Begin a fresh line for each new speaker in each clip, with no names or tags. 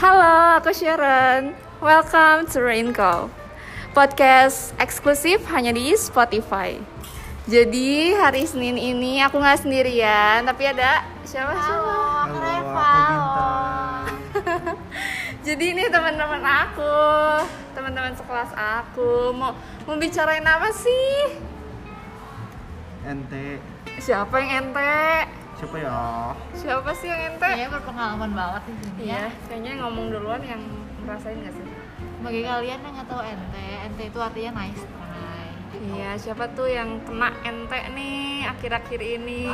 Halo, aku Sharon. Welcome to Raincow. Podcast eksklusif hanya di Spotify. Jadi hari Senin ini aku nggak sendirian, tapi ada siapa siapa.
Halo, aku Reva.
Jadi ini teman-teman aku, teman-teman sekelas aku mau mau bicarain apa sih?
Ente
Siapa yang ente?
siapa ya?
Siapa sih yang ente?
Kayaknya berpengalaman banget di sini ya.
Iya, kayaknya yang ngomong duluan yang ngerasain gak sih?
Bagi kalian yang nggak tahu NT, NT itu artinya nice try.
Iya, siapa tuh yang kena ente nih akhir-akhir ini?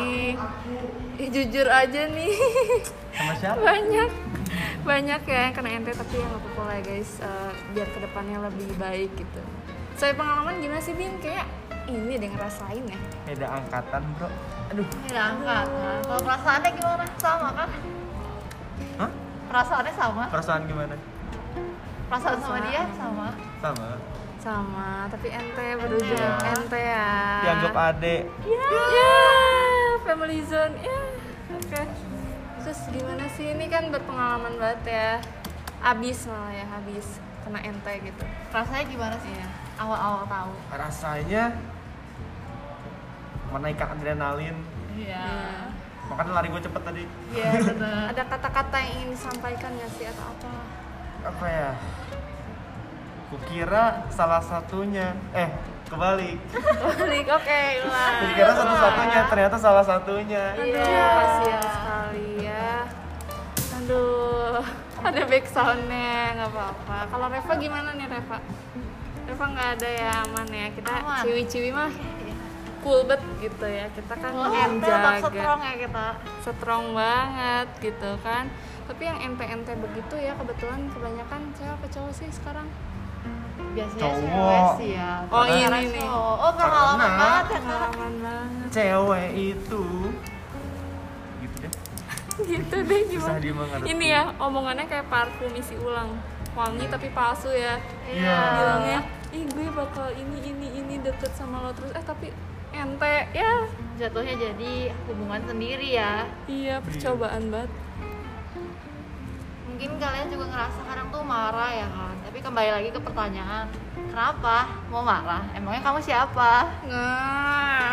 Ih, jujur aja nih,
Sama siapa?
banyak banyak ya yang kena ente tapi yang apa-apa lah guys, Eh, biar kedepannya lebih baik gitu. Saya pengalaman gimana sih Bin? Kayak ini deh ngerasain ya.
Beda angkatan, Bro. Aduh.
Tidak angkat. Nah, Kalau perasaannya gimana? Sama kan?
Hah?
Perasaannya sama.
Perasaan gimana?
Perasaan sama
Perasaan.
dia sama.
Sama.
Sama, tapi ente berujung
Iya.
ente ya.
Dianggap adek.
Ya, family zone. Ya, oke. Terus gimana sih ini kan berpengalaman banget ya. Abis malah ya, habis kena ente gitu.
Rasanya gimana sih?
Iya.
Awal-awal tahu.
Rasanya menaikkan adrenalin.
Ya.
Iya.
Makanya lari gue cepet tadi.
Iya benar.
Ada kata-kata yang ingin disampaikan nggak sih atau apa?
Apa ya? Kukira salah satunya. Eh, kebalik.
Balik, oke, ulang.
Kukira satu-satunya, ternyata salah satunya.
Iya,
Aduh.
kasihan sekali ya. Aduh, ada back soundnya, nggak apa-apa. Kalau Reva gimana nih Reva? Reva nggak ada ya aman ya. Kita
Aman.
ciwi-ciwi mah cool bet gitu ya. Kita kan
Kalau NT tetap
menjaga
Oh, strong ya kita.
strong banget gitu kan. Tapi yang ente-ente begitu ya kebetulan kebanyakan cewek apa cowok sih sekarang?
Biasanya
Cowok.
cewek sih ya.
Oh,
tapi
iya,
sekarang
nih, nih.
cowok. Oh pengalaman
Karena-
Iya.
banget ya Kak.
Pengalaman banget.
Cewek itu gitu deh.
Gitu deh
Susah
gimana?
dimengerti.
Ini ya omongannya kayak parfum isi ulang.
Hmm.
Wangi tapi palsu ya.
Iya.
bilangnya ih gue bakal ini ini ini deket sama lo terus eh tapi ente ya
Jatuhnya jadi hubungan sendiri ya.
iya percobaan banget
mungkin kalian juga ngerasa kadang tuh marah ya kan tapi kembali lagi ke pertanyaan kenapa mau marah emangnya kamu siapa
nah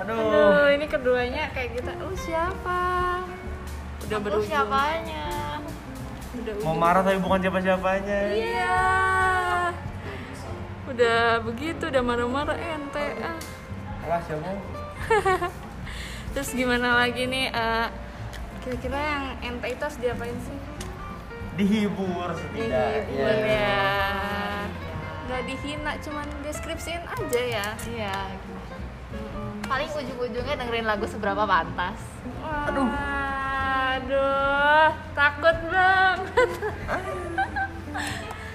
Aduh.
aduh ini keduanya kayak gitu lu siapa "Oh, udah
Aku
berujung
siapanya
udah
Mau
ujung.
marah tapi bukan siapa-siapanya.
iya udah begitu udah marah-marah eh, ente ah.
Awas ya, Bu.
terus gimana lagi nih eh, kira-kira yang ente itu harus diapain sih
Dihibur Iya,
dihibur
setidaknya.
ya nggak dihina cuman deskripsiin aja ya
iya paling ujung-ujungnya dengerin lagu seberapa pantas
Aduh. Aduh, takut bang.
Ah.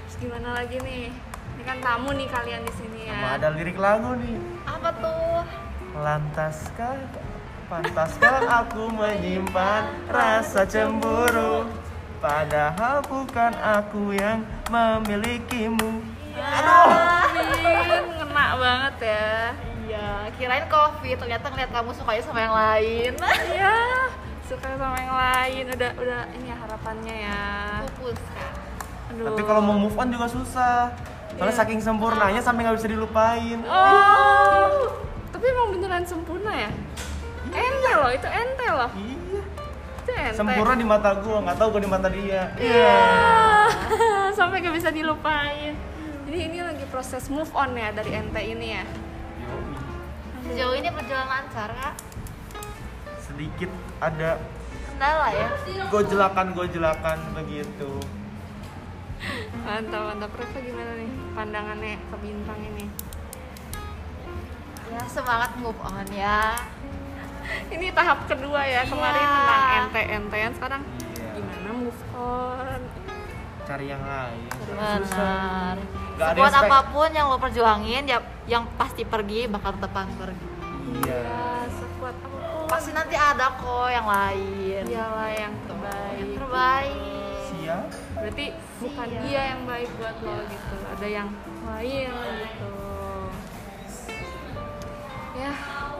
Terus gimana lagi nih? Ini kan tamu nih kalian di sini ya.
Sama ada lirik lagu nih.
apa tuh
Lantaskah pantaskah aku menyimpan rasa cemburu padahal bukan aku yang memilikimu.
Amin, ngena banget ya.
iya kirain covid ternyata ngeliat kamu sukanya sama yang lain
Iya, suka sama yang lain. Udah, udah ini ya harapannya ya.
pupus kan
Aduh.
Tapi kalau mau move on juga susah. Soalnya
Iya.
saking sempurnanya sampai nggak bisa dilupain.
Oh, tapi emang beneran sempurna ya? Ente loh, itu ente loh.
Iya.
Itu ente.
Sempurna di mata gua, nggak tahu gua di mata dia.
Iya. Ah, Sampai gak bisa dilupain. Jadi ini lagi proses move on ya dari ente ini ya.
Yoi.
sejauh ini perjalanan lancar kak
Sedikit ada
kendala ya
gojelakan-gojelakan begitu.
Mantap, mantap. Reva gimana nih pandangannya ke bintang ini?
ya semangat move on ya
Ini tahap kedua ya. Kemarin
Iya.
tentang ente-entean, sekarang
Iya.
gimana move on?
Cari yang lain.
Benar.
Nggak ada
Sekuat
yang spek-
apapun yang lo perjuangin, ya, yang pasti pergi bakal tetap pergi.
Iya.
Ya, sekuat apapun.
Pasti nanti ada kok yang lain.
Dialah yang
Yang
Iya. terbaik.
terbaik.
Siap.
Berarti bukan
Iya.
dia yang baik buat lo gitu. Ada yang lain gitu. Ya,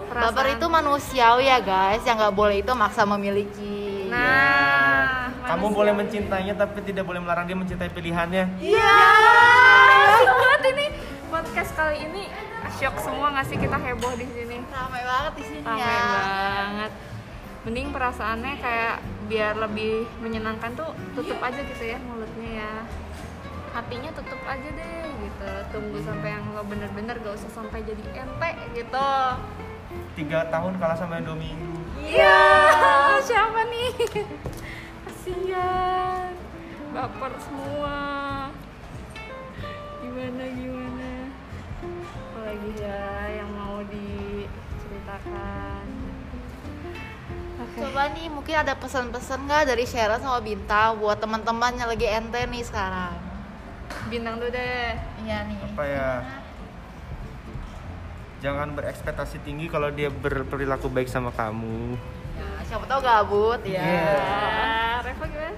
Baper
perasaan-
itu manusiawi ya guys, yang nggak boleh itu maksa memiliki.
Nah,
Kamu boleh mencintainya tapi tidak boleh melarang dia mencintai pilihannya.
Iya. Asik banget ini podcast kali ini shock semua nggak sih kita heboh di sini.
Ramai banget di sini
Ramai
ya.
banget. Mending perasaannya kayak biar lebih menyenangkan tuh tutup aja gitu ya mulutnya ya. Hatinya tutup aja deh gitu. Tunggu sampai yang lo bener-bener gak usah sampai jadi ente gitu.
Tiga tahun kalah sama Indomie.
Iya. Siapa nih? Kasian. Baper semua. Gimana gimana? Apalagi ya yang mau diceritakan. Oke.
Coba nih mungkin ada pesan-pesan nggak dari Sharon sama Binta buat teman-teman yang lagi ente nih sekarang.
Bintang dulu deh.
Iya nih.
Apa ya? Jangan berekspektasi tinggi kalau dia berperilaku baik sama kamu.
Ya, siapa tahu gabut ya.
Iya.
Ah, Reva gimana?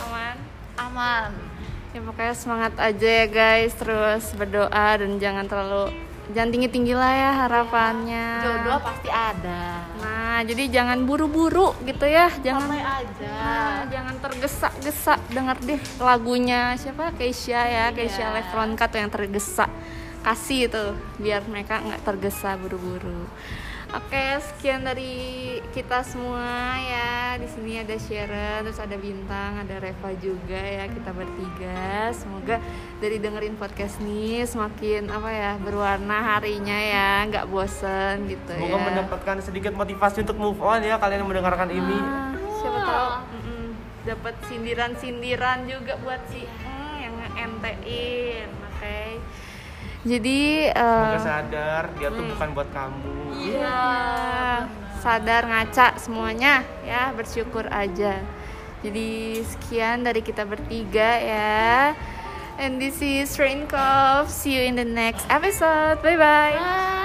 Aman?
Aman.
Ya pokoknya semangat aja ya guys, terus berdoa dan jangan terlalu jangan tinggi-tinggi lah ya harapannya.
Jodoh pasti ada.
Nah, jadi jangan buru-buru gitu ya, jangan
Santai aja.
Nah, jangan tergesa-gesa dengar deh lagunya siapa Keisha ya Keisha
Iya.
Live Ronka tuh yang tergesa kasih itu biar mereka nggak tergesa buru-buru oke sekian dari kita semua ya di sini ada Sharon terus ada Bintang ada Reva juga ya kita bertiga semoga dari dengerin podcast ini semakin apa ya berwarna harinya ya nggak bosen gitu ya
Semoga mendapatkan sedikit motivasi untuk move on ya kalian yang mendengarkan ini.
Ah, siapa tahu mm-mm, dapat sindiran-sindiran juga buat si mm, yang nge-MT-in, oke. Jadi
Semoga
eh,
sadar dia tuh bukan buat kamu.
iya, sadar ngaca semuanya ya, bersyukur aja. Jadi sekian dari kita bertiga ya. And this is Rain Cove. See you in the next episode. Bye bye.
Bye.